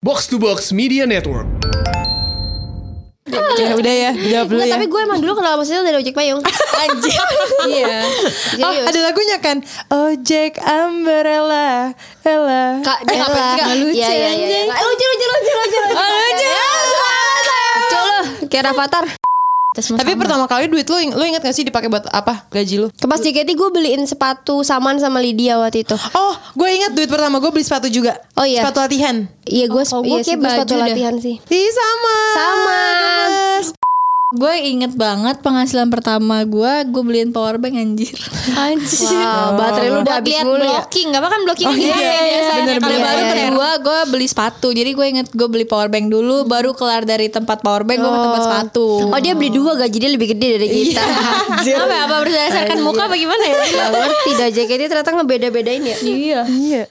Box to Box Media Network. Ya udah ya, jawab dulu Nggak, ya. tapi gue emang dulu kenal Mas Rizal dari Ojek Payung Anjir. Iya Oh, Serius. ada lagunya kan? Ojek umbrella, Ella. Eh, Kak, dia Ella. ngapain sih, Kak? Nggak lucu Iya, iya, iya, anjing. iya. Lucu, lucu, lucu, Ah, lucu Oh, lucu. Lucu lu, kayak Rafathar Tapi pertama kali duit lu, ing- lu inget gak sih dipakai buat apa? Gaji lu? Ke pas JKT gue beliin sepatu saman sama Lydia waktu itu Oh, gue ingat duit pertama gue beli sepatu juga. Oh, iya. Sepatu latihan. Iya gue Oh, kalau iya gua sih kayak gua sepatu baju dah. latihan sih Ih, sama. Sama. Gemes. Gue inget banget penghasilan pertama gue, gue beliin power bank anjir. Anjir. Wow, baterai lu udah Buat habis liat mulu ya blocking, gak apa kan blocking Oh, gitu iya, kayak iya, biasa. bener, Kalau bener. baru Iya, iya. kedua gue beli sepatu. Jadi gue inget gue beli power bank dulu, baru kelar dari tempat power bank gue ke tempat sepatu. Oh dia beli dua gaji dia lebih gede dari kita apa ya, apa berdasarkan muka apa gimana ya? Gak ngerti dah JKT ternyata ngebeda-bedain ya Iya. Iya.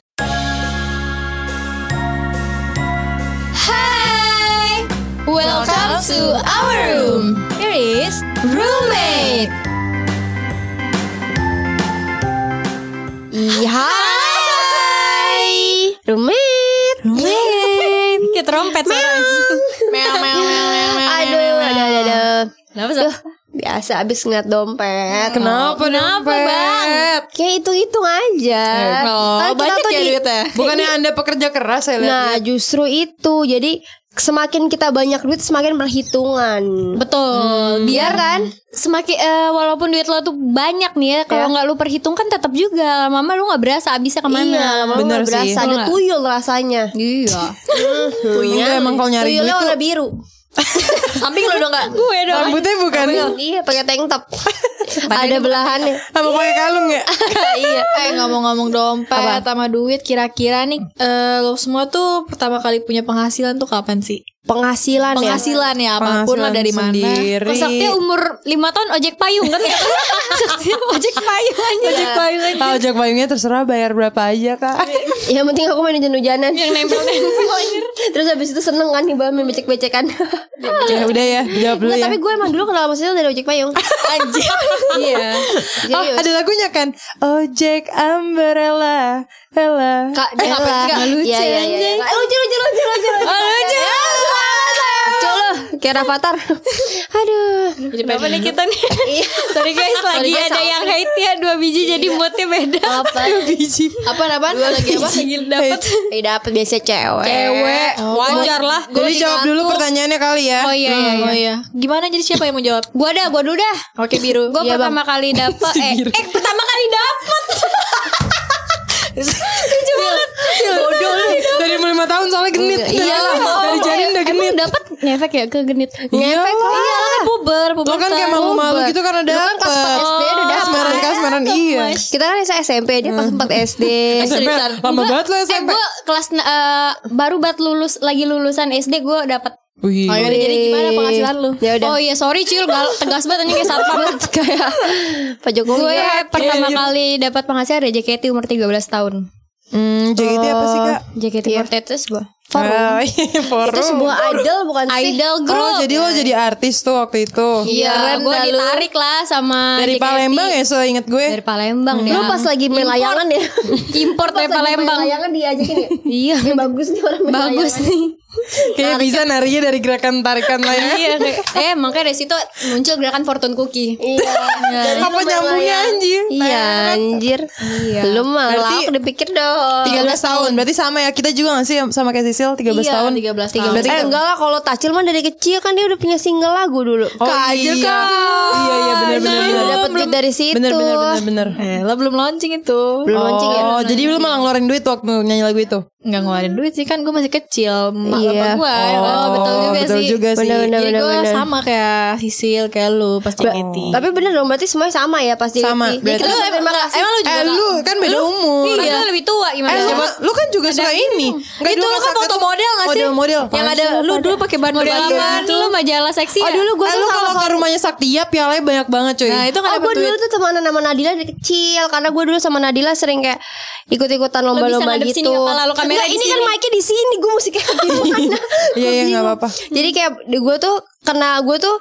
Hai. Welcome to our room. Here is roommate. Iya Hai Rumit Roommate. Kayak trompet suaranya. Meow meow meow meow. meow, Aduh meow, meow. aduh aduh, aduh. Kenapa Sal? Biasa abis ngeliat Hmm. dompet Kenapa, Kenapa Dompet? bang? Kayak hitung-hitung aja Oh, Karena kita banyak tuh ya di- duitnya. Bukannya anda pekerja keras saya lihat. Nah justru itu Jadi semakin kita banyak duit semakin perhitungan Betul. Biar kan semakin eh, walaupun duit lo tuh banyak nih ya, kalau Iya. nggak lo perhitungkan tetap juga lama-lama lo nggak berasa habisnya Iya, kemana. lama-lama Bener nggak berasa sih. ada Nggak? tuyul rasanya. Iya. Tuyul tuh emang kalau nyari Tuyulnya duit tuh warna biru. Kambing lu dong enggak? Gue dong. rambutnya kan? bukan Iya, pakai tank top. ada belahannya. sama pakai kalung ya. iya. Eh ngomong-ngomong dompet sama duit kira-kira nih eh, lo semua tuh pertama kali punya penghasilan tuh kapan sih? Penghasilan, ya. Penghasilan ya apapun lah Penghasilan dari mana. sendiri. Kok Saktia umur 5 tahun ojek payung kan ya? Saktia ojek payung aja. Ojek payung Iya. aja. Ah, ojek payungnya terserah bayar berapa aja kak. Ya, Yang penting aku main hujan-hujanan. Yang nempel-nempel anjir. Terus habis itu seneng kan hibah main becek-becekan. ya udah ya, jawab dulu Nggak, ya. tapi gue emang dulu kenal maksudnya dari ojek payung. Anjir. Iya. Oh, Serius. ada lagunya kan? Ojek umbrella, Ella. Kak, Eh, dia Ella. Nggak ngerti nggak? lucu Oh, Iya, iya, iya. anjing. Nggak, Lucu, lucu, lucu, lucu. lucu. Ah, lucu. Lucu lu, kayak Rafathar. Aduh. Iya. Kenapa nih kita nih? ya? Sorry guys, lagi guys, ada sama. yang hate ya dua biji jadi moodnya beda. Apa? Biji. Apa apaan? Lagi apa? Dapat Eh, dapet biasa cewek. Iya, cewek, wajar lah. Jadi jawab dulu pertanyaannya kali ya. Oh iya, iya, oh iya. Gimana jadi siapa yang mau jawab? Gua dah, gua dulu dah. Oke biru. Gue Iya, pertama kali dapet. eh, eh, pertama kali dapet. Lucu banget. Bodoh lu. Dari umur lima tahun soalnya genit. Iya lah. Dari janin udah genit. Dapat ngefek ya ke genit. Ngefek. Iya lah kan puber, puber. Lo kan kayak malu-malu gitu karena dapet. SD udah dapet. Kasmaran-kasmaran iya. Kita kan SMP, dia pas sempat SD. SMP lama banget ya, Eh, lo SMP. Gue kelas eh, baru bat lulus lagi lulusan SD gue dapat Wih. Oh, iya Ayo jadi gimana penghasilan lu? Ya udah. Oh iya sorry Cil gal- tegas banget anjing kayak satpam kayak Pak Jokowi. ya. gue pertama Iya, iya. kali dapat penghasilan dari JKT umur 13 tahun. Hmm, JKT apa sih kak? ya, Iya. JKT48 gue. Forum. Forum. Eh, itu sebuah idol bukan sih? Idol group. Oh, jadi lo jadi artis tuh waktu itu. Iya, Keren gue dah lu. ditarik lah sama Dari JKT. Palembang ya, so inget gue. Dari Palembang ya. Lu pas lagi main layangan ya? import dari Palembang. Layangan diajakin ya? Iya. Kayak bagus nih orang main Bagus layangan. nih. Kayak bisa narinya dari gerakan tarikan lain. Iya. kayak- Eh, makanya dari situ muncul gerakan fortune cookie. Iya. Jadi lu Apa main nyambungnya layang. anjir? Iya anjir. Iya. Lu mah Berarti- lauk dipikir dong. 13 tahun. Berarti sama ya kita juga gak sih sama kayak Sisil 13 Iya, tahun. 13 tahun. Berarti Eh kita- enggak lah kalau Tacil mah dari kecil kan dia udah punya single lagu dulu. Oh, Kak iya. Ajil kan Iya iya benar benar udah benar. dapet duit dari situ. Benar benar benar benar. Eh, lo belum launching itu. Belum launching ya. Oh, jadi lu malah ngeluarin duit waktu nyanyi lagu itu. nggak ngeluarin duit sih kan gue masih kecil mak Iya. bapak gue oh, betul juga betul sih juga sih. Benar, benar, jadi gue benar. sama kayak Sisil kayak lu pas JKT Tapi bener dong berarti semuanya sama ya pasti. Sama, berarti- Kita Lu terima emang- kasih. emang lu juga Eh nggak- lu kan beda umur. Kan Iya. gua lebih tua gimana Eh lu, Coba- lu kan juga suka ini. Nggak, itu dulu lu kan suka foto tuh model gak sih Model-model. yang ada lu dulu pakai ban model apaan lu majalah seksi ya. Oh dulu gue Eh, tuh lu sama kalau ke rumahnya Saktia pialanya banyak banget cuy. nah itu nggak Oh dapet gue dulu tuh temenan sama Nadila dari kecil Karena gue dulu sama Nadila sering kayak Ikut-ikutan lomba-lomba ngadep gitu sini kepala lu, kamera Nggak, di ini kan sini. mic-nya di sini Gue mesti kayak gimana Iya iya enggak apa-apa. Jadi kayak gue tuh Kena gue tuh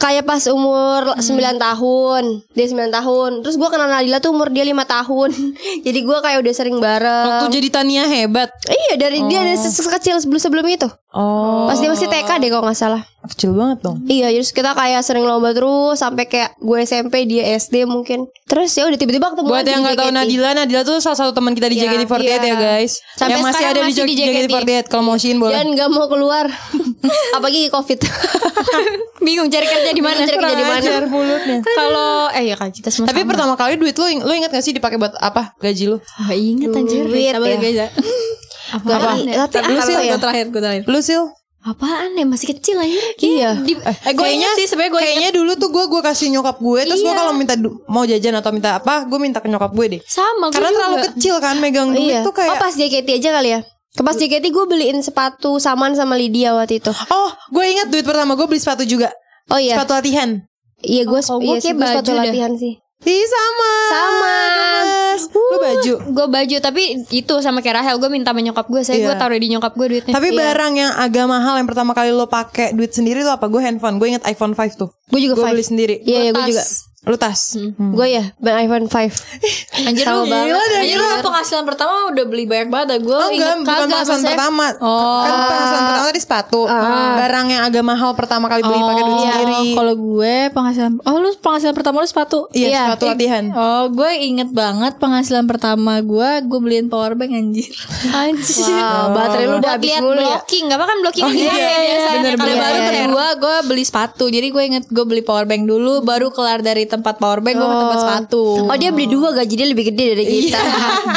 kayak pas umur Hmm. 9 tahun dia 9 tahun terus gua kenal Nadila tuh umur dia 5 tahun jadi gua kayak udah sering bareng Oh. Nah. Waktu jadi Tania hebat. iya dari dia dari se- sekecil sebelum sebelum itu Oh, pas dia masih TK deh kalau nggak salah kecil banget dong. Iya, terus kita kayak sering lomba terus sampai kayak gue SMP dia SD mungkin. Terus ya udah tiba-tiba ketemu Buat lagi gitu. yang di nggak tahu JKT. Nadila, Nadila tuh salah satu teman kita di Iya, JKT48 iya. ya guys. Sampai yang masih sekarang ada di masih di JKT48. Kalau mau Shin boleh. dan nggak mau keluar, apalagi COVID. Bingung cari kerja di mana? Cari kerja di mana? Ajar mulutnya. Kalau eh ya kan kita semua. Tapi pertama kali duit lu, lu ingat gak sih dipakai buat apa gaji lu? Ah, inget anjir. Duit Sabar, ya. guys, ya. Tapi- Apaan ya? tapi Tapi lu apa sih ya? gue terakhir gue terakhir. Lu sil? Apaan ya masih kecil aja. Iya. Eh, gue inget sih sebenarnya gue inget kayaknya dulu tuh gue gue kasih nyokap gue terus Iya. gue kalau minta du- mau jajan atau minta apa gue minta ke nyokap gue deh sama gue karena terlalu juga. kecil kan megang duit Oh, gitu? iya. tuh kayak Oh pas JKT aja kali ya. Ke Pas JKT gue beliin sepatu saman sama Lydia waktu itu. Oh, gue ingat duit pertama gue beli sepatu juga. Oh iya. Sepatu latihan. Iya gue Oh, iya gua sih, kayak gua sepatu baju dah. latihan sih. Ih, sama. Sama. Uh. Yes. Lu baju. Gue baju tapi itu sama kayak Rahel gue minta sama nyokap gue saya Iya. gue taruh di nyokap gue Eh, duitnya. iya. Iya. Tapi barang yang agak mahal yang pertama kali lo pakai duit sendiri tuh apa? Gue handphone. Gue inget iPhone 5 tuh. Gue juga Gue five. beli sendiri. Iya iya gue Tas. juga. Lu tas. Gue ya beli iPhone 5 Anjir Sama lu banget. gila Anjir lu penghasilan pertama udah beli banyak banget Gue Oh, enggak, bukan ya? penghasilan pertama. Oh. Kan penghasilan pertama tadi sepatu. Ah. Barang yang agak mahal pertama kali Oh. beli pakai duit Iya. sendiri. Iya. Oh, Kalau gue penghasilan Oh lu penghasilan pertama lu sepatu Iya, Iya. sepatu latihan. Oh gue inget banget penghasilan pertama gue Gue beliin power bank anjir Anjir Wow, baterai lu udah Buat habis lihat mulu ya. blocking, nggak apa kan blocking Oh, kan iya, gimana ya iya, biasa. bener, Kalau bener. baru kedua gue beli sepatu Jadi gue inget gue beli power bank dulu Baru kelar dari tempat power bank gue ke tempat sepatu Oh dia beli dua gaji dia lebih gede dari kita.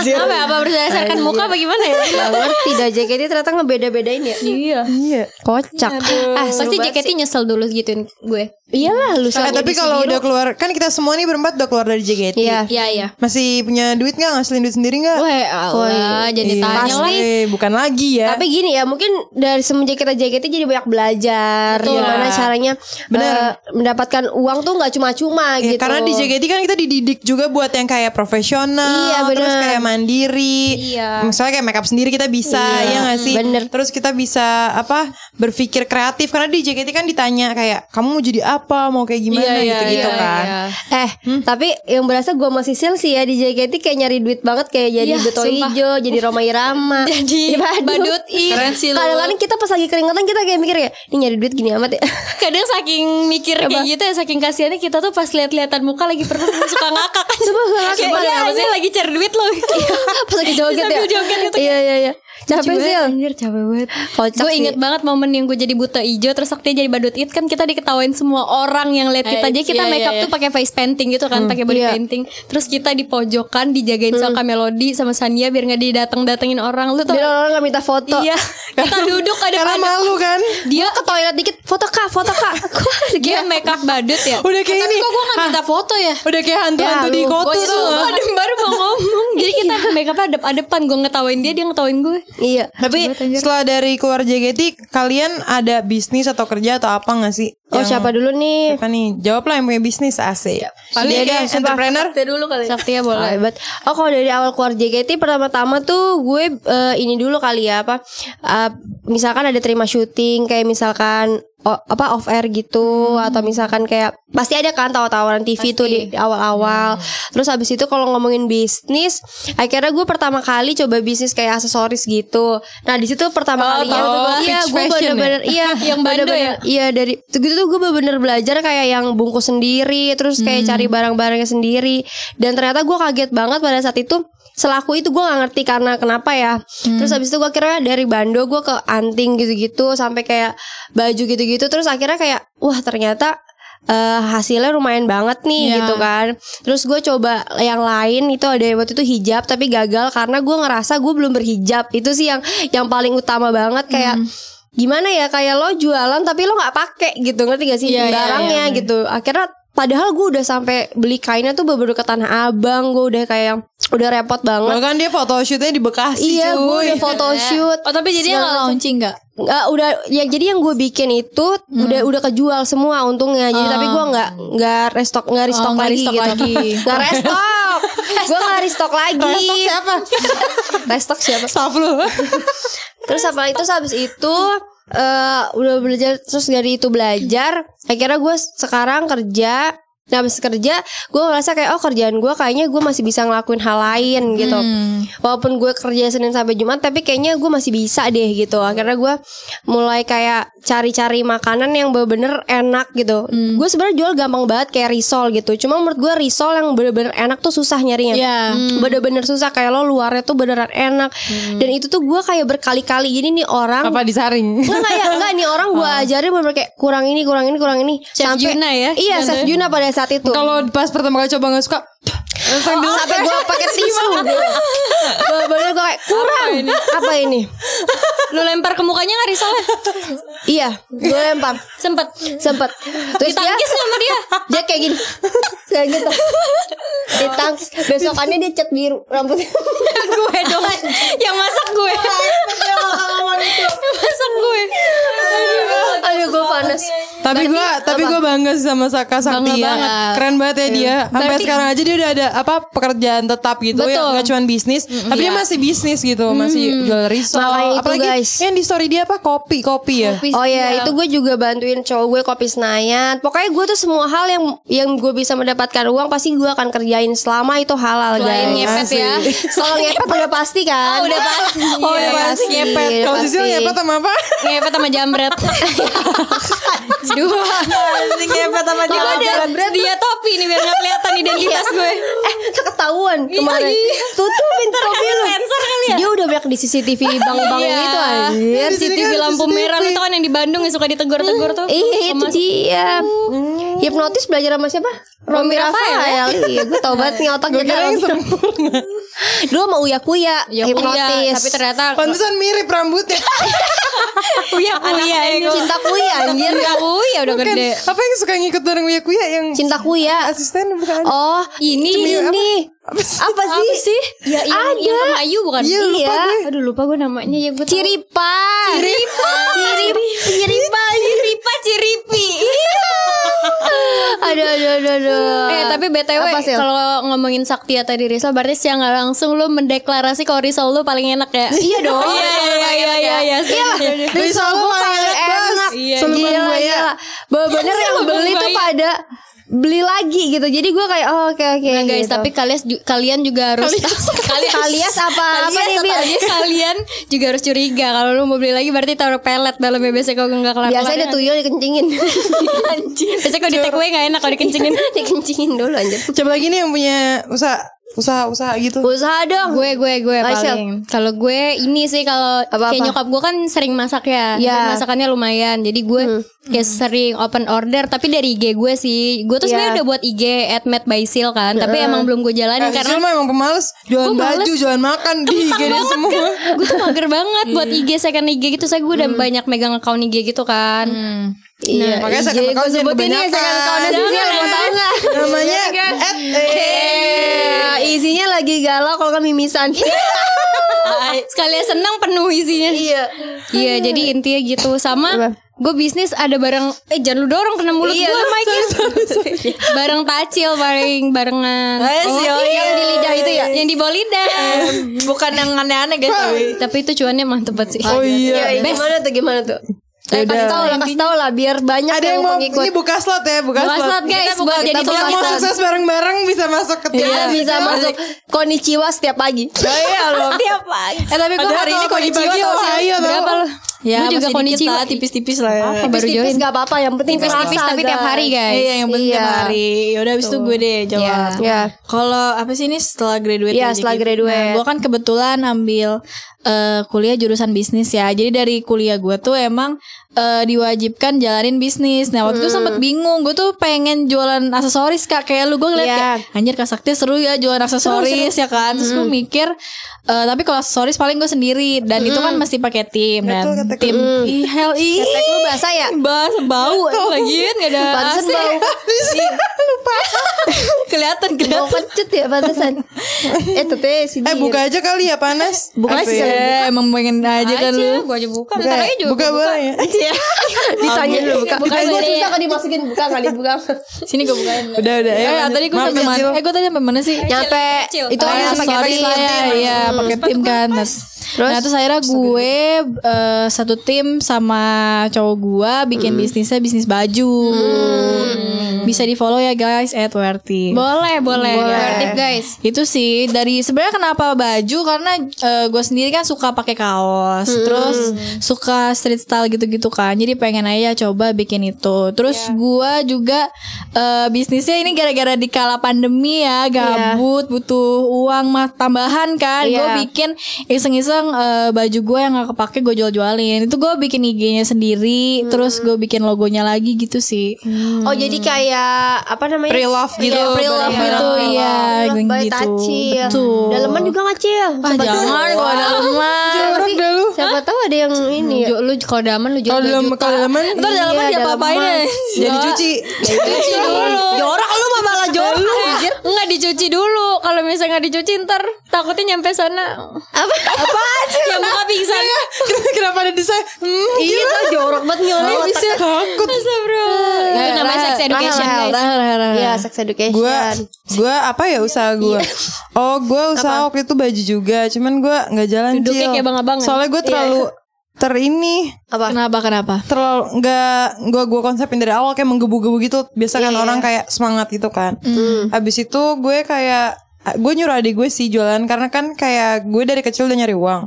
Apa apa berdasarkan muka apa gimana ya? Gak ngerti dah JKT ternyata ngebeda-bedain ya. Iya Iya. Kocak. Ah, pasti JKT nyesel dulu gituin gue. Iyalah lu Eh, tapi kalau udah keluar, kan kita semua nih berempat udah keluar dari JKT. Iya. Iya, iya. Masih punya duit nggak ngasilin duit sendiri nggak? Weh, ya? Allah, jadi Iya, tanya lah. pasti. Bukan lagi ya. Tapi gini ya, mungkin dari semenjak kita JKT jadi banyak belajar gimana Iya. caranya Bener. eh, mendapatkan uang tuh nggak cuma-cuma Ya, gitu. Karena di JKT kan kita dididik juga buat yang kayak profesional, Iya, terus bener. kayak mandiri. Iya. Misalnya kayak makeup sendiri kita bisa, iya nggak sih? bener. Terus kita bisa apa? Berpikir kreatif karena di JKT kan ditanya kayak kamu mau jadi apa, mau kayak gimana Iya, iya, gitu-gitu iya, kan. iya. Eh, tapi yang berasa gua masih sil sih ya di JKT kayak nyari duit banget kayak jadi Iya, Beto sumpah. Ijo, jadi Roma Irama, Jadi badut ih. Keren sih lu. Kadang-kadang kita pas lagi keringetan kita kayak mikir ya, ini nyari duit gini amat ya. Kadang saking mikir kayak gitu ya, saking kasihannya kita tuh pas lihat-lihatan muka lagi perlu suka ngakak kan. Sumpah, suka ngakak. Kayak, Sumpah, iya, sumpah. anjing, lagi cari duit lo. Iya. pas lagi joget ya. Sambil joget gitu. Iya iya iya. Capek Capek sil. Anjir capek banget Kocak Gue sih. inget banget momen yang gue jadi buta ijo Terus waktu dia jadi badut it Kan kita diketawain semua orang yang lihat kita Eh, Jadi kita iya, make up iya, tuh pakai face painting gitu kan pakai body painting Terus kita di pojokan Dijagain sama Melody sama Sania Biar gak didateng-datengin orang Lu tuh Biar orang nggak minta foto. Iya Kita duduk ada Karena badut malu kan. Dia Ke toilet dikit, foto kak, foto kak. Gua lagi- dia make up badut ya Udah kayak Tapi ini. kok gue gak minta foto ya Udah kayak hantu-hantu Ya, di lu. kota Gua tuh. nyesel nggak? banget. Aduh baru mau ngomong Jadi kita make upnya adep-adepan Gue ngetawain dia Dia ngetawain gue Iya. Tapi setelah dari keluar JKT, kalian ada bisnis atau kerja atau apa nggak sih? Oh Yang- siapa dulu nih? Siapa nih? Jawablah yang punya bisnis AC. Dia Dia Ya, kayak siapa? entrepreneur. Kita dulu kali Ah, Saktia boleh hebat. Oh kalau dari awal keluar JKT pertama-tama tuh gue eh, ini dulu kali ya apa eh, misalkan ada terima syuting kayak misalkan o- apa off air gitu Hmm. atau misalkan kayak pasti ada kan tawaran TV tuh di di awal-awal. Hmm. Terus habis itu kalau ngomongin bisnis, akhirnya gue pertama kali coba bisnis kayak aksesoris gitu. Nah, di situ pertama Oh, kalinya tahu gua. iya Peach gue fashion ya? bener-bener iya Yang bando bener-bener- ya? Iya dari itu gitu tuh gue bener-bener belajar kayak yang bungkus sendiri terus kayak cari barang-barangnya sendiri dan ternyata gue kaget banget pada saat itu selaku itu gue gak ngerti karena kenapa ya terus habis itu gue kira dari Bando gue ke Anting gitu-gitu sampai kayak baju gitu-gitu terus akhirnya kayak wah ternyata eh, hasilnya lumayan banget nih Iya. gitu kan Terus gue coba yang lain itu ada waktu itu hijab tapi gagal karena gue ngerasa gue belum berhijab itu sih yang yang paling utama banget kayak Hmm. gimana ya kayak lo jualan tapi lo nggak pakai gitu ngerti gak sih Iya, iya, barangnya gitu akhirnya padahal gue udah sampai beli kainnya tuh baru ke tanah abang gue udah kayak udah repot banget Bahkan dia photoshootnya di Bekasi iya gue cuy. udah photoshoot Oh tapi jadi Segala gak macam. launching gak? Nggak, udah ya jadi yang gue bikin itu Hmm. udah udah kejual semua untungnya jadi tapi gue nggak nggak restock nggak restock Oh. nggak lagi restock gitu lagi. nggak restock gue nggak restock lagi restock siapa restock siapa Staff lu. terus apa itu habis itu eh, udah belajar terus dari itu belajar akhirnya gue sekarang kerja nah habis kerja gue ngerasa kayak oh kerjaan gue kayaknya gue masih bisa ngelakuin hal lain gitu Hmm. walaupun gue kerja senin sampai jumat tapi kayaknya gue masih bisa deh gitu akhirnya gue mulai kayak cari-cari makanan yang bener-bener enak gitu gue sebenarnya jual gampang banget kayak risol gitu cuma menurut gue risol yang bener-bener enak tuh susah nyarinya Hmm. Iya. bener-bener susah kayak lo luarnya tuh beneran enak dan itu tuh gue kayak berkali-kali gini nih orang Apa disaring? Enggak enggak ya, enggak nih orang gua ajarin bener kayak kurang ini, kurang ini, kurang ini. Chef Juna ya? Iya, Juna Chef ya? Juna pada saat itu. Kalau pas pertama kali coba nggak suka, sampai gua pakai tisu. Bener-bener gua kayak kurang. Apa ini? Lu lempar ke mukanya gak risolnya? Iya, gua lempar. Sempet Sempet Terus dia Ditangkis ya? sama dia Dia kayak gini Kayak gitu Ditangkis Besokannya dia cat biru rambutnya Gue dong Yang masak gue Yang Masak gue Aduh gue panas tapi gue tapi gue bangga sih sama Saka Sakti ya. Keren banget ya dia. Sampai sekarang aja dia udah ada apa pekerjaan tetap gitu ya, nggak cuma bisnis, tapi dia masih bisnis gitu, masih jual risol. Makanya itu, Apalagi guys. yang di story dia apa kopi, kopi ya. Oh ya, itu gue juga bantuin cowok gue kopi Senayan. Pokoknya gue tuh semua hal yang yang gue bisa mendapatkan uang pasti gue akan kerjain selama itu halal Selain guys. ngepet ya Kalau ngepet udah pasti kan. Oh udah pasti Oh ya pasti ngepet. udah Kalau Sisil pasti. ngepet sama apa? Ngepet sama jambret Dua ngepet sama Gue ada dia topi nih biar gak kelihatan identitas gue Eh, ketahuan kemarin. iya. Tutupin kopi lu. Sensor kali ya Dia udah banyak di CCTV bank-bank Iya. itu anjir. Biar CCTV lampu merah Lu tau kan yang di Bandung yang suka ditegur-tegur tuh Iya itu dia Hmm. Hipnotis belajar sama siapa? Romi ya? Rafael Iya gue tau banget nih otak kita Romi Dulu sama Uya Kuya Ya, Hipnotis iya, Tapi ternyata Pantesan mirip rambutnya. Uya Kuya Cinta Kuya anjir iya, Anjir Uya udah Bukan. gede Apa yang suka ngikut bareng Uya Kuya yang Cinta Kuya asisten bukan? Oh Ini ini Apa sih? Ya yang, Ada. yang sama Ayu bukan? Iya, lupa gue. Aduh lupa gue namanya ya gue Ciri Ciripa Ciripa Ciripa Ciripa Ciripa Ciripi. Iya. Aduh aduh aduh aduh eh tapi BTW Apa, Sil? kalau ngomongin Sakti atau di Rizal berarti secara nggak langsung lu mendeklarasi kalau Rizal lu paling enak ya. Iya dong. ya. Iya iya iya iya iya. Iya. Risol Risol gue paling paling enak, Bas. enak Iya, Gila Lubang buaya. gila ya. Bener-bener yang Lubang beli tuh buaya. pada Beli lagi gitu Jadi gue kayak oh, oke oke Nah guys, gitu. tapi kalian ju- kalian juga harus kalian Kalias apa? Apa nih, Bil? kalian, kalian juga harus curiga kalau lu mau beli lagi berarti taruh pelet dalamnya biasanya kalau nggak kelar. Biasanya ada tuyul dikencingin Biasanya kalau di take away nggak enak kalau dikencingin. Dikencingin dulu anjir Coba lagi nih yang punya usaha usaha usaha gitu. Usaha dong gue gue gue Aisyah. paling kalau gue ini sih kalau Apa-apa? kayak nyokap gue kan sering masak ya Iya. Dan masakannya lumayan jadi gue kayak sering open order tapi dari IG gue sih gue tuh Iya. sebenarnya udah buat IG at Matt by Sil kan tapi emang belum gue jalanin Nah, karena Sisil mah emang pemalas Jualan Gue males. baju, jualan makan Di IG dia semua gue tuh mager banget buat IG second IG gitu saya gue udah banyak megang account IG gitu kan Iya Makanya second Jadi account jangan gue ya, sebutin nih kebanyakan. Second accountnya Jangan. Sisil, Mau tau gak Namanya Iya kan? at Eh, Isinya lagi galau kalau kan mimisan Eh, sekalian senang penuh isinya Iya Iya jadi intinya gitu Apa? sama gue bisnis ada barang eh jangan lu dorong kena mulut Iya, gue Mike barang tacil paling barengan iya, Oh, yang di lidah itu ya yang di bawah lidah Bukan yang aneh-aneh guys tapi itu cuannya mantep banget sih Oh iya Iya, Gimana tuh gimana tuh Eh, kasih tau lah, kasih tau lah biar banyak Ada yang mau Ini buka slot ya Buka, Buka slot slot guys buka- buat jadi kita Yang buka tukang mau slot. sukses bareng-bareng Bisa masuk ke tim Iya, Iya bisa masuk Konnichiwa setiap pagi Setiap pagi eh tapi gue Padahal Iya, hari ini kalau kondisi dibagi tau sih Ohio tau. berapa lu Ya gue juga masih dikit kondisi lah Tipis-tipis lah ya baru Tipis-tipis join gak apa-apa Yang penting tipis-tipis kerasa, tapi tiap guys. hari guys Iya yang penting Iya. tiap hari Yaudah abis itu gue deh jawab Iya. Iya. Kalau apa sih ini setelah graduate Iya, aja setelah gitu. graduate. Nah, gue kan kebetulan ambil eh, kuliah jurusan bisnis ya Jadi dari kuliah gue tuh emang eh, kan diwajibkan jalanin bisnis Nah waktu itu sempet bingung Gue tuh pengen jualan aksesoris kak Kayak lu gue Iya. ngeliat ya. kayak Anjir kak Sakti seru ya jualan aksesoris ya kan Terus gue mikir eh, Tapi kalau aksesoris paling gue sendiri Dan itu kan mesti pakai tim Dan tim Ih, hell iya. ih Ketek lu basah ya Bahas bau lagi nggak ada Pantesan AC. bau kelihatan Bau kelihatan kecut ya pantesan Eh tuh teh sini Eh buka aja kali ya panas Bukan Apa sih ya? saya emang pengen aja kan lu. gue aja buka Buka, bentar lagi juga buka gua boleh ya Ditanya dulu buka Buka Eh, gua dulu. susah kalau dimasukin Buka kali buka Sini gue bukain. Udah udah Eh, ya lanjut. tadi gue Maaf sampai ya, mana? Cil. Eh, gue tadi sampai mana sih? Nyampe Kecil. Itu Oh, harus ya, pakai sorry tim lah ya, iya pakai tim kan. Nah, Nah terus akhirnya gue eh, satu tim sama cowok gue bikin bisnisnya bisnis baju. Bisa di follow ya guys at Werty. Boleh, boleh. Kreatif guys. Itu sih dari sebenarnya kenapa baju karena gue sendiri kan suka pakai kaos, terus suka street style gitu-gitu kan. Jadi pengen aja coba bikin itu. Terus gua gue juga eh, bisnisnya ini gara-gara di kala pandemi ya, gabut, butuh uang mah tambahan kan. Gue Iya. bikin iseng-iseng eh, baju gue yang gak kepake gue jual-jualin. Itu gue bikin IG-nya sendiri, terus gue bikin logonya lagi gitu sih. Oh jadi kayak apa namanya? Iya, Pre-love gitu. Kayak pre-love barang-barang. gitu ya, Pre-love by gitu. iya. Tacil. Betul. Daleman juga nggak cil? Ah, jangan kalau ada lemah. Jorok dah lu. Siapa tahu ada yang ini ya. Ju- Lu kalau daman lu Kalau jual dalam baju. kalau daleman Ntar daleman Iya, dia apa-apain ya? eh. daleman. Iya. jadi cuci. Cuci dulu. Jorok lu mah malah jorok. Eh, Nggak dicuci dulu. Kalau misalnya nggak dicuci ntar takutnya nyampe sana. Apa? Apa? Ya muka pingsan. Kenapa ada desain? Hmm, Iya tuh jorok banget nyolong Gue otak. bisa takut. Itu namanya sex education Rahel, guys. Rahel, rahel, rahel. Iya sex education. Gue gue apa ya usaha gue? Iya. Oh gue usaha waktu itu baju juga, cuman gue nggak jalan Duduknya Cil. kayak ya? Iya. abang-abangan. Soalnya gue terlalu ter ini apa? Kenapa kenapa? terlalu nggak gue gue konsepin dari awal kayak menggebu-gebu gitu. Biasa kan orang kayak semangat gitu kan. Habis itu gue kayak gue nyuruh adik gue sih jualan karena kan kayak gue dari kecil udah nyari uang.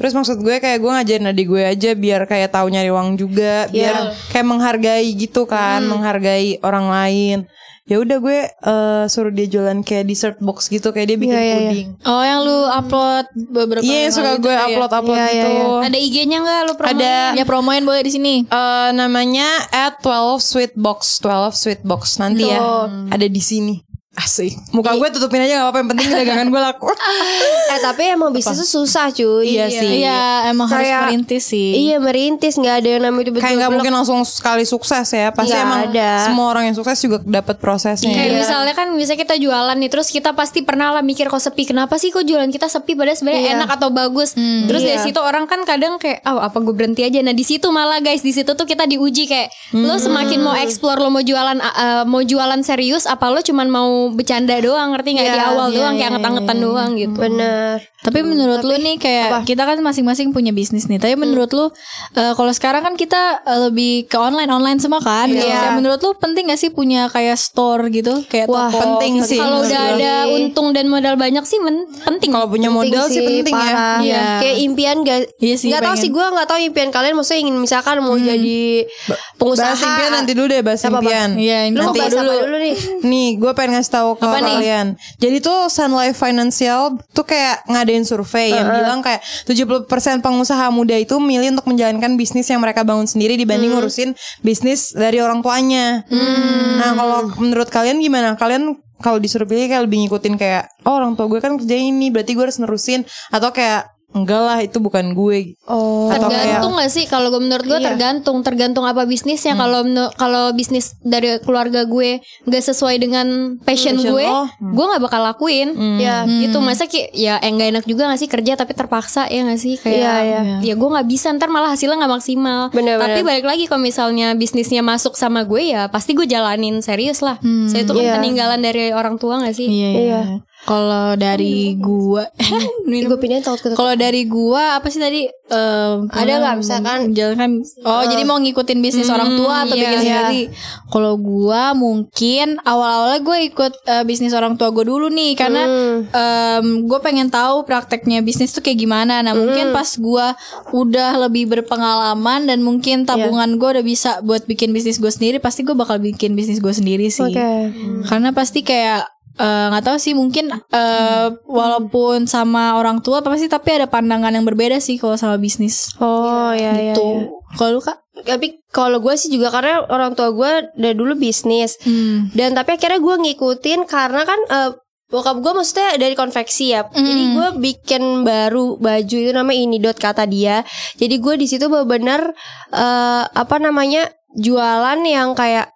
Terus maksud gue kayak gue ngajarin adik gue aja biar kayak tahu nyari uang juga, biar kayak menghargai gitu kan, menghargai orang lain. Ya udah gue eh, suruh dia jualan kayak dessert box gitu, kayak dia bikin puding. Oh yang lu upload beberapa Iya, yang yang suka lalu gue itu ya? upload upload gitu. Ada IG-nya nggak lu promoin? Ada Ya promoin boleh di sini. eh, namanya at 12 sweet box, 12 sweet box nanti ya. Ada di sini. Asik. Muka Iya. gue tutupin aja gak apa-apa yang penting dagangan gue laku. Eh tapi emang bisnis tuh susah cuy. Iya sih. Iya emang Kayak- harus merintis sih. Iya merintis nggak ada yang namanya tiba-tiba. Kayak nggak blok. mungkin langsung sekali sukses ya. Pasti Nggak emang ada. Iya, semua orang yang sukses juga dapat prosesnya. Kayak misalnya kan bisa kita jualan nih terus kita pasti pernah lah mikir kok sepi kenapa sih kok jualan kita sepi padahal sebenarnya enak atau bagus terus dari situ orang kan kadang kayak ah apa gue berhenti aja nah di situ malah guys di situ tuh kita diuji kayak lo semakin mau explore lo mau jualan uh, mau jualan serius apa lo cuman mau bercanda doang ngerti nggak di awal doang kayak anget-angetan doang gitu Bener. Tapi menurut lu nih kayak kita kan masing-masing punya bisnis nih. Tapi menurut lu eh, kalau sekarang kan kita eh, lebih ke online online semua kan. Gitu. Iya. Menurut lu penting gak sih punya kayak store gitu kayak Wah, toko? penting sih. kalau udah Iya, menurut gue. ada untung dan modal banyak sih men- penting kalau punya modal sih penting ya. parah. Iya. Kayak impian gak Iya sih, Gak tau pengen. Hmm. sih gue gak tau impian kalian Maksudnya ingin misalkan mau jadi pengusaha Bahas impian nanti dulu deh bahas Apa-apa? impian. Iya, ini Lu mau nanti Hmm. bahas apa dulu nih Nih, gue pengen ngasih tahu ke Apa nih? kalian. Jadi tuh Sun Life Financial tuh kayak ngadain survei yang bilang kayak 70% pengusaha muda itu milih untuk menjalankan bisnis yang mereka bangun sendiri dibanding ngurusin bisnis dari orang tuanya. Nah, kalau menurut kalian gimana? Kalian kalau disuruh pilih kayak lebih ngikutin kayak oh orang tua gue kan kerja ini, berarti gue harus nerusin atau kayak enggak lah itu bukan gue. Oh Atau tergantung gak sih kalau gue menurut Iya. gue tergantung tergantung apa bisnisnya Hmm. kalau menu- kalau bisnis dari keluarga gue nggak sesuai dengan passion, Passion gue lo, Hmm. gue nggak bakal lakuin Ya. Hmm. gitu masa ki ya enggak enak juga gak sih kerja tapi terpaksa ya gak sih kayak Iya, iya. ya gue nggak bisa ntar malah hasilnya nggak maksimal Bener, tapi bener. balik lagi kalau misalnya bisnisnya masuk sama gue ya pasti gue jalanin serius lah Hmm. saya itu kan Iya. peninggalan dari orang tua gak sih Iya. Iya. iya. Kalau dari gua Gue pindahin takut ketutup Kalau dari gua apa sih tadi Em, Ada nggak misalkan- menjalankan oh jadi mau ngikutin bisnis orang tua atau bikin sendiri. Kalau gua mungkin awal-awalnya gue ikut eh, bisnis orang tua gue dulu nih karena Hmm. gue pengen tahu prakteknya bisnis tuh kayak gimana. Nah, Hmm. mungkin pas gua udah lebih berpengalaman dan mungkin tabungan Iya. gua udah bisa buat bikin bisnis gue sendiri, pasti gue bakal bikin bisnis gue sendiri sih. Oke. Karena pasti kayak eh, nggak tahu sih mungkin eh, walaupun sama orang tua apa sih tapi ada pandangan yang berbeda sih kalau sama bisnis. Oh ya ya, gitu. ya. Kalau lu Kak? Tapi kalau gue sih juga karena orang tua gue dari dulu bisnis dan tapi akhirnya gue ngikutin karena kan eh, bokap gue maksudnya dari konveksi ya jadi Hmm. gue bikin baru baju itu nama ini dot kata dia jadi gue di situ benar apa namanya jualan yang kayak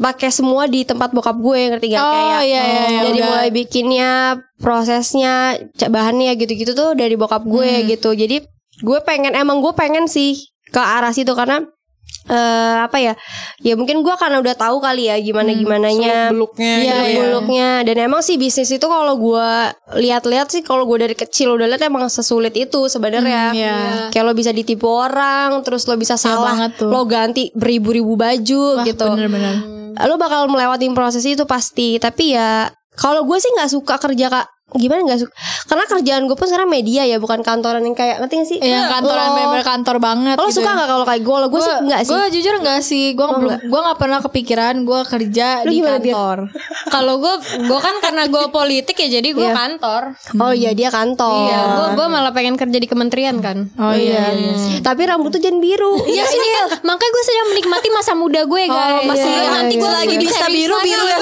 pakai semua di tempat bokap gue ngerti gak Oh, kayak iya, iya, iya, jadi udah. mulai bikinnya prosesnya ca- bahannya gitu-gitu tuh Hmm. gitu. dari bokap gue gitu jadi gue pengen emang gue pengen sih ke arah situ karena eh, apa ya? Ya mungkin gua karena udah tahu kali ya gimana Hmm, gimananya. Beluknya Iya, Iya, iya. buluknya dan emang sih bisnis itu kalau gua lihat-lihat sih kalau gua dari kecil udah lihat emang sesulit itu sebenarnya. Hmm, iya. Kayak lo bisa ditipu orang, terus lo bisa salah, banget tuh. lo ganti beribu-ribu baju Wah, gitu. Ah, Bener-bener. Lo bakal melewati proses itu pasti, tapi ya kalau gue sih nggak suka kerja kak gimana nggak suka karena kerjaan gue pun sekarang media ya bukan kantoran yang kayak ngerti gak sih Yang Iya, kantoran Lo- bener-bener kantor banget. Iya, lo gitu suka ya. nggak kalau kayak gue lo gue sih nggak sih Gue jujur nggak sih. Gue Oh, belum. Gue nggak pernah kepikiran gue kerja Lu di gimana, Dir? kantor. Kalau gue gue kan karena gue politik ya jadi gue kantor. oh iya dia kantor Iya, gue malah pengen kerja di kementerian kan. Oh iya. iya. tapi rambut tuh jangan biru Iya ini kan, makanya gue sedang menikmati masa muda gue guys. masa Iya, muda. nanti gue Iya, lagi iya. bisa biru biru ya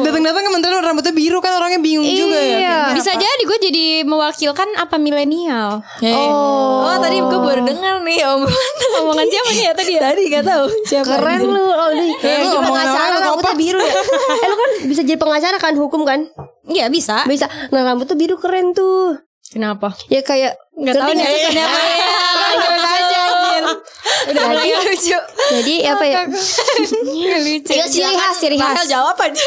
Datang-datang kementerian rambutnya biru kan orangnya bingung juga ya. Iya. Kenapa? Bisa jadi gue jadi mewakilkan apa milenial. Oh. tadi gue baru dengar nih omongan. Omongan siapa nih ya tadi? ya? tadi gak tahu siapa. Keren lu Oh lu Eh, lu jadi omongan pengacara orang lu rambutnya kompas. biru ya Eh lu kan bisa jadi pengacara kan Hukum kan Iya bisa. Bisa Nah rambutnya biru keren tuh Kenapa? Ya kayak Gak ngerti tahu nggak nih sih? maksudnya apa ya. Udah jadi, lucu Jadi apa ya Ya ciri khas Ciri khas jawab aja.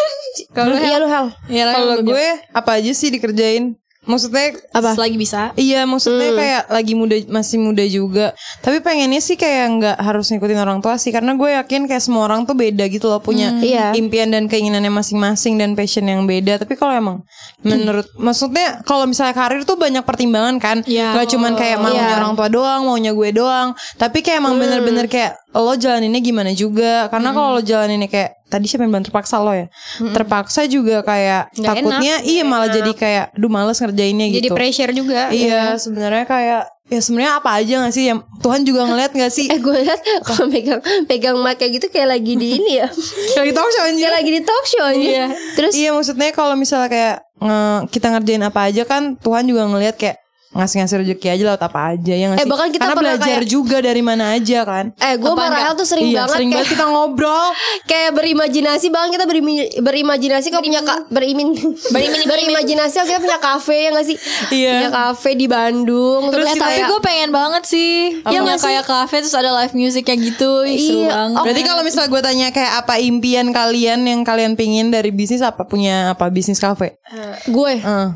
Kalau Iya lu hal Ya, Kalau gue apa aja sih dikerjain? Maksudnya Selagi bisa. Iya maksudnya kayak lagi muda masih muda juga Tapi pengennya sih kayak nggak harus ngikutin orang tua sih Karena gue yakin kayak semua orang tuh beda gitu loh Punya Iya. impian dan keinginannya masing-masing Dan passion yang beda Tapi kalau emang menurut Maksudnya kalau misalnya karir tuh banyak pertimbangan kan Iya. Gak cuman kayak maunya Iya. orang tua doang Maunya gue doang Tapi kayak emang bener-bener kayak Lo jalaninnya gimana juga Karena kalau lo jalaninnya kayak Tadi siapa yang bilang terpaksa lo ya Terpaksa juga kayak Nggak Takutnya iya malah jadi kayak Duh males ngerjainnya gitu Jadi pressure juga. Iya, sebenarnya kayak ya sebenarnya apa aja gak sih yang Tuhan juga ngeliat gak sih? Eh gue liat Kalau pegang Pegang mic kayak gitu Kayak lagi di ini ya Kayak kita harus anjir. Kayak lagi di talk show aja Terus Iya, maksudnya kalau misalnya kayak nge- kita ngerjain apa aja kan Tuhan juga ngeliat kayak ngasih-ngasih rezeki aja lewat apa aja ya nggak Eh, sih? bahkan kita Karena pernah belajar kayak- juga dari mana aja kan. Eh gue sama Rahel tuh sering iya, banget sering kayak- banget kita ngobrol. kayak berimajinasi bahkan kita berimi- berimajinasi kalau punya ka, berimin berimajinasi kalau kita punya kafe ya nggak sih Iya. punya kafe di Bandung terus, Eh, kita tapi gue pengen banget sih. Apa? Yang Iya gak kayak kafe terus ada live music kayak gitu. Ih, Seru Iya. banget. Berarti kalau misalnya gue tanya kayak apa impian kalian yang kalian pingin dari bisnis apa punya apa bisnis kafe? Eh. gue Heeh.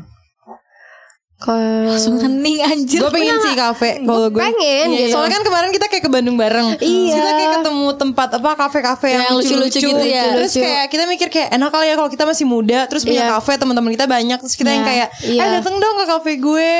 Ke- langsung hening anjir. Gue pengen sih kafe kalau gue. pengen Iya, gitu. Soalnya kan kemarin kita kayak ke Bandung bareng. Iya. Kita kayak ketemu tempat apa kafe-kafe yang, Yang lucu-lucu lucu-lucu gitu ya. Terus Lucu. kayak kita mikir kayak enak kali ya kalau kita masih muda terus punya Iya. kafe teman-teman kita banyak terus kita yang kayak Iya. eh dateng dong ke kafe gue.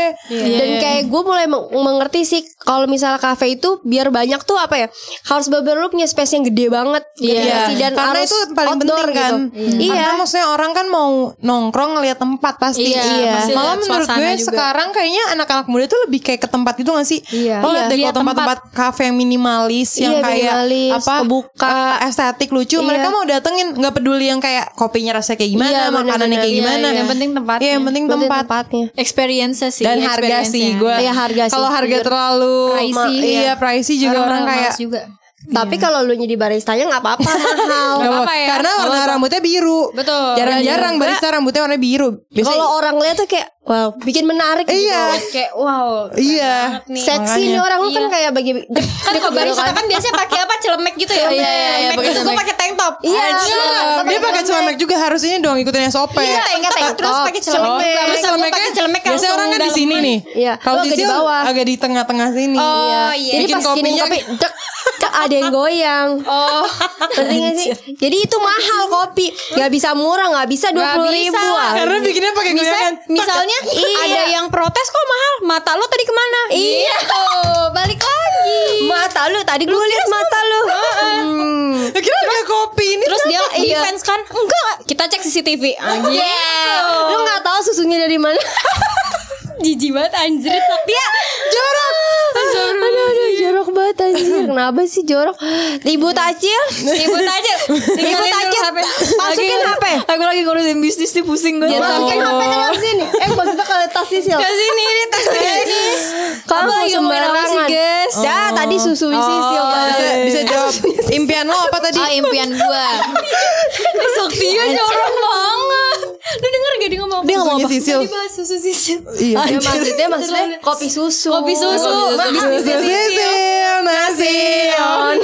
dan kayak gue mulai meng- mengerti sih kalau misalnya kafe itu biar banyak tuh apa ya harus bener lu punya space yang gede banget Iya. gitu nggak sih? dan karena harus itu paling outdoor penting kan. gitu. iya Karena maksudnya orang kan mau nongkrong ngeliat tempat pasti. Iya, Iya. pasti Malah lihat menurut suasana gue juga. sekarang kayaknya anak-anak muda tuh lebih kayak ke tempat itu gak sih? Iya. Lo liat Iya, deh iya, kalau tempat-tempat kafe yang minimalis yang Iya, kayak minimalis, apa kebuka. eh, estetik lucu. Iya. Mereka mau datengin nggak peduli yang kayak kopinya rasanya kayak gimana, Iya, makanannya bener-bener. kayak Iya, gimana. iya. Yang penting tempatnya. Iya, yang penting Berarti tempat. tempatnya experience sih. Dan harga experience-nya. sih gue. Iya, harga sih. Kalau harga Jujur. terlalu Pricey. ma- iya pricey juga orang, kayak males juga. tapi kalau lu jadi baristanya nggak apa-apa Oh, mahal Nggak apa-apa ya. Karena warna rambutnya biru. Betul. Jarang-jarang barista rambutnya warna biru. Biasanya kalau orang lihat tuh kayak wow bikin menarik Iya. gitu Kayak wow. Iya. seksi nih orang lu kan kayak bagi Kan kalau barista kan biasanya pakai apa celemek gitu ya. Iya, iya, iya, pakai Terus gue celemek. pakai tank top. Iya, Anjir. Dia pakai celemek juga harus ini dong ikutin SOP. Iya, tank top. Terus pakai ya? celemek. Oh, juga. Terus gue pakai celemek biasanya langsung orang kan di dalam. sini nih. Iya, Kalau lu di agak di sini bawah. agak di tengah-tengah sini. Oh iya. jadi Bikin pas gini kopinya kopi dek dek, ada yang goyang Oh. Ngerti nggak sih jadi itu mahal kopi nggak bisa murah nggak bisa dua puluh bisa. ribu ah. Karena bikinnya pakai Misal, goyangan. misalnya ada yang protes kok mahal mata lo tadi kemana gitu. iya balik lagi mata lu tadi gue lihat mata lu Hmm. Ya, Kira kayak kopi ini. terus dia Iya. defense kan enggak kita cek CCTV anjir Iya. lu nggak tahu susunya dari mana jijik banget anjir tapi ya jorok aduh aduh jorok banget anjir kenapa sih jorok ibu tacil ibu aja ibu tacil masukin hp Aku lagi ngurusin bisnis nih pusing gue. masukin hp Oh. ke sini eh maksudnya ke tas sih Sil. sini ini tas ini Kamu lagi ngomongin apa sih, guys? Ya tadi susu isi sih Oh, Bisa, iya. Eh, bisa iya. jawab impian lo apa tadi? Ah impian gue. Soktia jorok banget lu denger gak dia ngomong Dia ngomong apa? Sisil. Dia bahas susu sisil Iya. Ya, maksudnya maksudnya kopi susu. kopi susu Bisnis Sisil, nasi. on.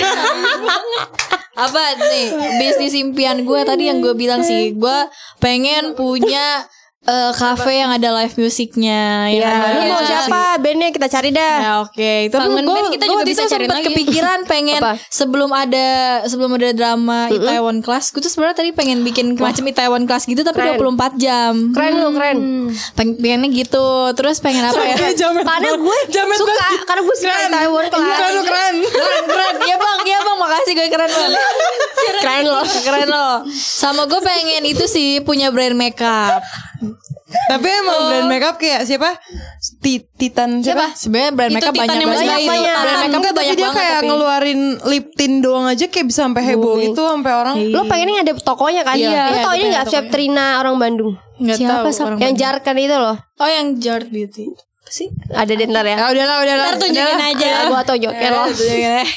apa nih bisnis impian gue tadi yang gue bilang sih gue pengen punya eh, cafe yang ada live musiknya Iya. yang Ya, Nah, ada- lu mau siapa? Bandnya kita cari dah. Ya oke, itu Kangen gue band kita juga bisa cariin sempat lagi. kepikiran pengen Apa? sebelum ada sebelum ada drama Itaewon Class, gue tuh sebenarnya tadi pengen bikin macam Itaewon Class gitu tapi Keren. 24 jam. Hmm. Keren lu, keren. Peng- pengennya gitu. Terus pengen apa ya? Jamet Karena banget. gue Jamet suka, banget. karena gue suka Keren. Taiwan Keren lu kelas. keren. Iya, keren keren ya bang ya bang makasih gue keren banget keren loh keren loh sama gue pengen itu sih punya brand makeup Tapi emang Oh. brand makeup kayak siapa? Ti- Titan siapa? sebenarnya brand Itu makeup Titan banyak yang banget Iya. masih Itu banyak. brand Tangan. makeup Enggak, tuh tapi banyak dia banget kayak tapi- ngeluarin lip tint doang aja kayak bisa sampai heboh Bumi. gitu sampai orang. Lo pengennya ada tokonya kan? Iya. Lo Iya, tau ada ini pengen gak Chef Trina orang Bandung? Nggak Siapa, tahu Sab? orang Yang Bandung. jarkan itu loh. oh yang Jart Beauty apa sih Ada deh ntar ya. Ya udahlah, udahlah. Ntar tunjukin Udahlah. aja. Gue Iya. tonjokin loh.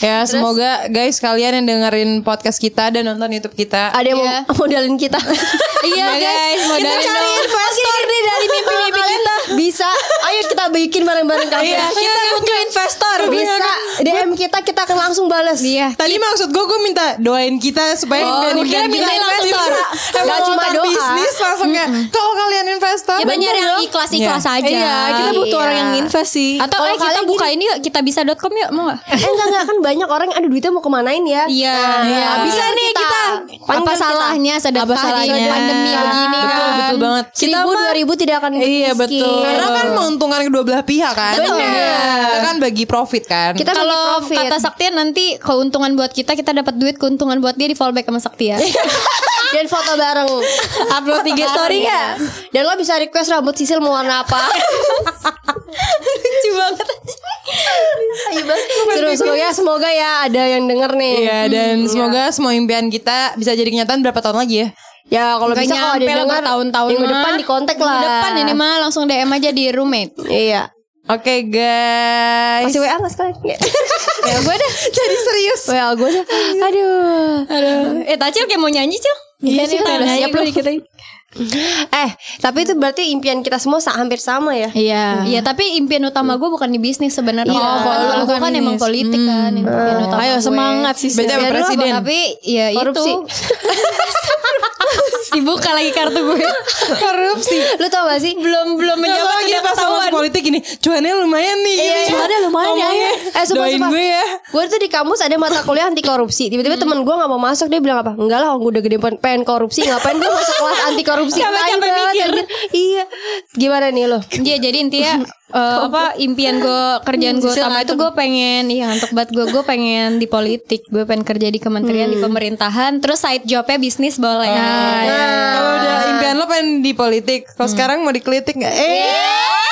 Ya, semoga guys kalian yang dengerin podcast kita dan nonton YouTube kita Ada yang mau modalin kita. iya guys Kita modalin cari dong. investor nih dari mimpi-mimpi kita. Bisa. Ayo kita bikin bareng-bareng kafe. Iya, kita butuh investor Iya, Bisa. DM kita kita akan langsung balas. Iya. Tadi maksud gue gue minta doain kita supaya Oh, brand- kira brand minta kita investor. investor. Nggak Emang cuma cuma doa. bisnis langsung kayak kalau kalian investor Ya banyak yang ikhlas-ikhlas aja. iya kita butuh Iya. orang yang invest sih Atau Kalau eh kita kalian buka ini yuk kita bisa.com yuk mau gak? Eh enggak enggak kan banyak orang yang aduh duitnya mau kemanain ya. Iya. iya. Bisa nih kita. Apa salahnya sedekah Apa salahnya? di pandemi Iya. begini Betul, kan? betul banget. Seribu Kita mah- dua ribu tidak akan Iya, miskin. betul. Karena kan menguntungkan kedua belah pihak kan. Betul. Iya. Kita kan bagi profit kan. Kita bagi Kalau profit. kata Saktia nanti keuntungan buat kita kita dapat duit keuntungan buat dia di fallback sama Saktia. ya? dan foto bareng. upload tiga ya? story Iya. Dan lo bisa request rambut sisil mau warna apa. lucu banget Seru seru ya Iya, semoga ya ada yang denger nih. Iya dan semoga semua impian kita bisa jadi kenyataan berapa tahun lagi ya. Ya kalau Nggak bisa kalau ada nyampe yang lah denger bertahun-tahun minggu mah. depan di kontak lah. Minggu depan ini mah langsung DM aja di roommate. Iya. Oke guys. Masih WA nggak sekalian? ya gue dah. jadi serius. WA gue dah. Aduh. Eh Tacil kayak mau nyanyi Cil? iya nih udah siap loh Eh, tapi itu berarti impian kita semua sa- hampir sama ya. iya Iya tapi impian utama gue bukan di bisnis sebenarnya. Oh, kalau lu gue bukan kan bisnis. emang politik kan. Impian utama ayo gue. semangat sih Beda sama Biar lu presiden. Tapi ya Korupsi. itu dibuka lagi kartu gue. Korupsi. Lu tau gak sih? belum belum Kalau menjawab lagi pas ngomong politik ini, cuannya lumayan nih. Ada lumayan ya. Eh, sumpah, Iya, Doain sumpah. gue ya. Hmm. Gue tuh di kampus ada mata kuliah anti korupsi. Tiba-tiba temen gue gak mau masuk dia bilang apa? Enggak lah, orang gue udah gede pen- pengen korupsi, ngapain gue masuk kelas anti korupsi? Capek-capek Tai banget, mikir. anjir. Iya. Gimana nih lo? Iya jadi intinya eh, apa impian gue kerjaan gue utama itu gue pengen iya untuk buat gue gue pengen di politik gue pengen kerja di kementerian di pemerintahan terus side jobnya bisnis boleh Nah, Nah, Iya. Hmm. Kalau udah impian lo pengen di politik, kalau sekarang mau dikelitik nggak? Eh,